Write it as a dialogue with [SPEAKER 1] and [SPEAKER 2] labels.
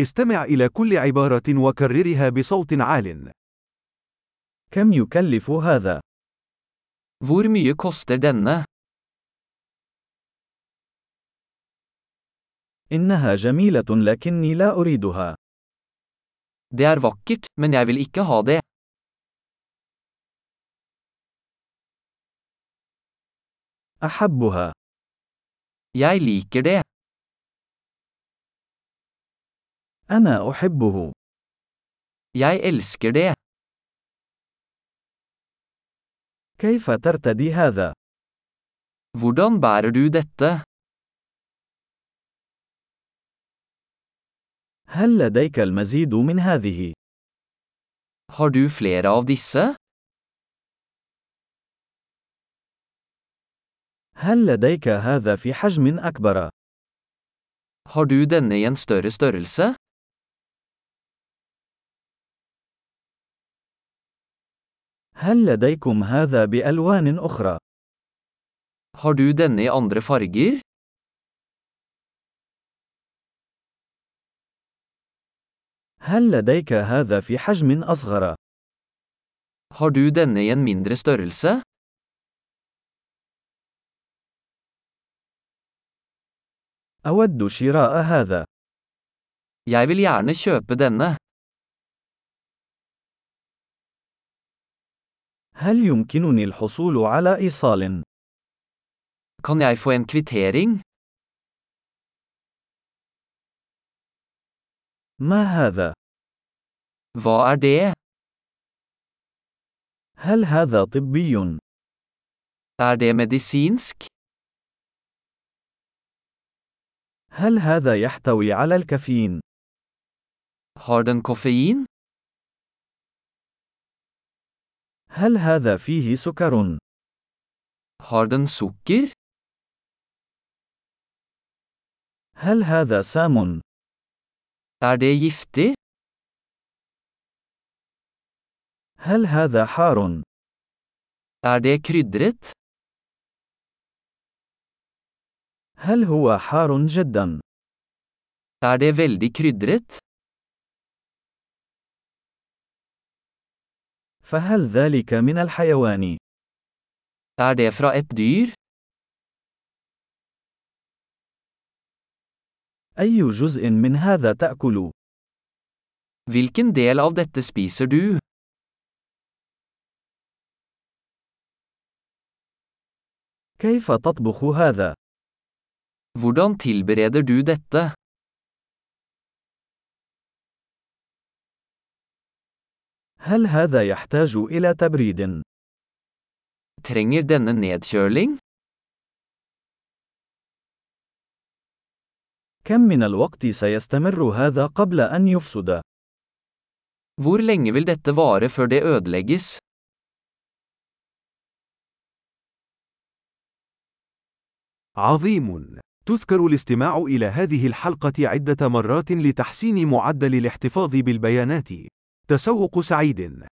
[SPEAKER 1] استمع إلى كل عبارة وكررها بصوت عال.
[SPEAKER 2] كم يكلف هذا؟
[SPEAKER 3] Hvor mye koster denne?
[SPEAKER 2] إنها جميلة لكني لا أريدها.
[SPEAKER 3] Det er vakkert, men jeg vil ikke ha det.
[SPEAKER 2] أحبها.
[SPEAKER 3] Jeg liker det.
[SPEAKER 2] أنا أحبه.
[SPEAKER 3] Jeg elsker det.
[SPEAKER 2] كيف ترتدي هذا؟
[SPEAKER 3] Hvordan bærer du dette?
[SPEAKER 2] هل لديك المزيد من هذه؟
[SPEAKER 3] Har du flere av disse?
[SPEAKER 2] هل لديك هذا في حجم أكبر؟
[SPEAKER 3] Har du denne i en større størrelse?
[SPEAKER 2] هل لديكم هذا بألوان أخرى؟
[SPEAKER 3] Har du denne i andre farger?
[SPEAKER 2] هل لديك هذا في حجم أصغر؟
[SPEAKER 3] Har du denne i en mindre størrelse?
[SPEAKER 2] أود شراء هذا.
[SPEAKER 3] Jeg vil gjerne kjøpe denne.
[SPEAKER 2] هل يمكنني الحصول على إيصال؟
[SPEAKER 3] Kan jeg få en kvittering?
[SPEAKER 2] ما هذا؟
[SPEAKER 3] Hva er det?
[SPEAKER 2] هل هذا طبي؟
[SPEAKER 3] Er det medisinsk?
[SPEAKER 2] هل هذا يحتوي على الكافيين؟
[SPEAKER 3] Har den koffein?
[SPEAKER 2] هل هذا فيه سكر؟
[SPEAKER 3] Har den sukker?
[SPEAKER 2] هل هذا سام؟
[SPEAKER 3] Er det giftig?
[SPEAKER 2] هل هذا حار؟
[SPEAKER 3] Er det krydret?
[SPEAKER 2] هل هو حار جدا؟
[SPEAKER 3] Er det veldig krydret?
[SPEAKER 2] فهل ذلك من الحيوان؟
[SPEAKER 3] Er det fra et dyr?
[SPEAKER 2] أي جزء من هذا تأكل؟
[SPEAKER 3] Hvilken del av dette spiser du?
[SPEAKER 2] كيف تطبخ هذا؟
[SPEAKER 3] Hvordan tilbereder du dette?
[SPEAKER 2] هل هذا يحتاج إلى تبريد؟
[SPEAKER 3] Trenger denne nedkjøling?
[SPEAKER 2] كم من الوقت سيستمر هذا قبل أن يفسد؟
[SPEAKER 3] Hvor lenge vil dette vare før det ødelegges?
[SPEAKER 1] عظيم. تذكر الاستماع إلى هذه الحلقة عدة مرات لتحسين معدل الاحتفاظ بالبيانات. تسوق سعيد.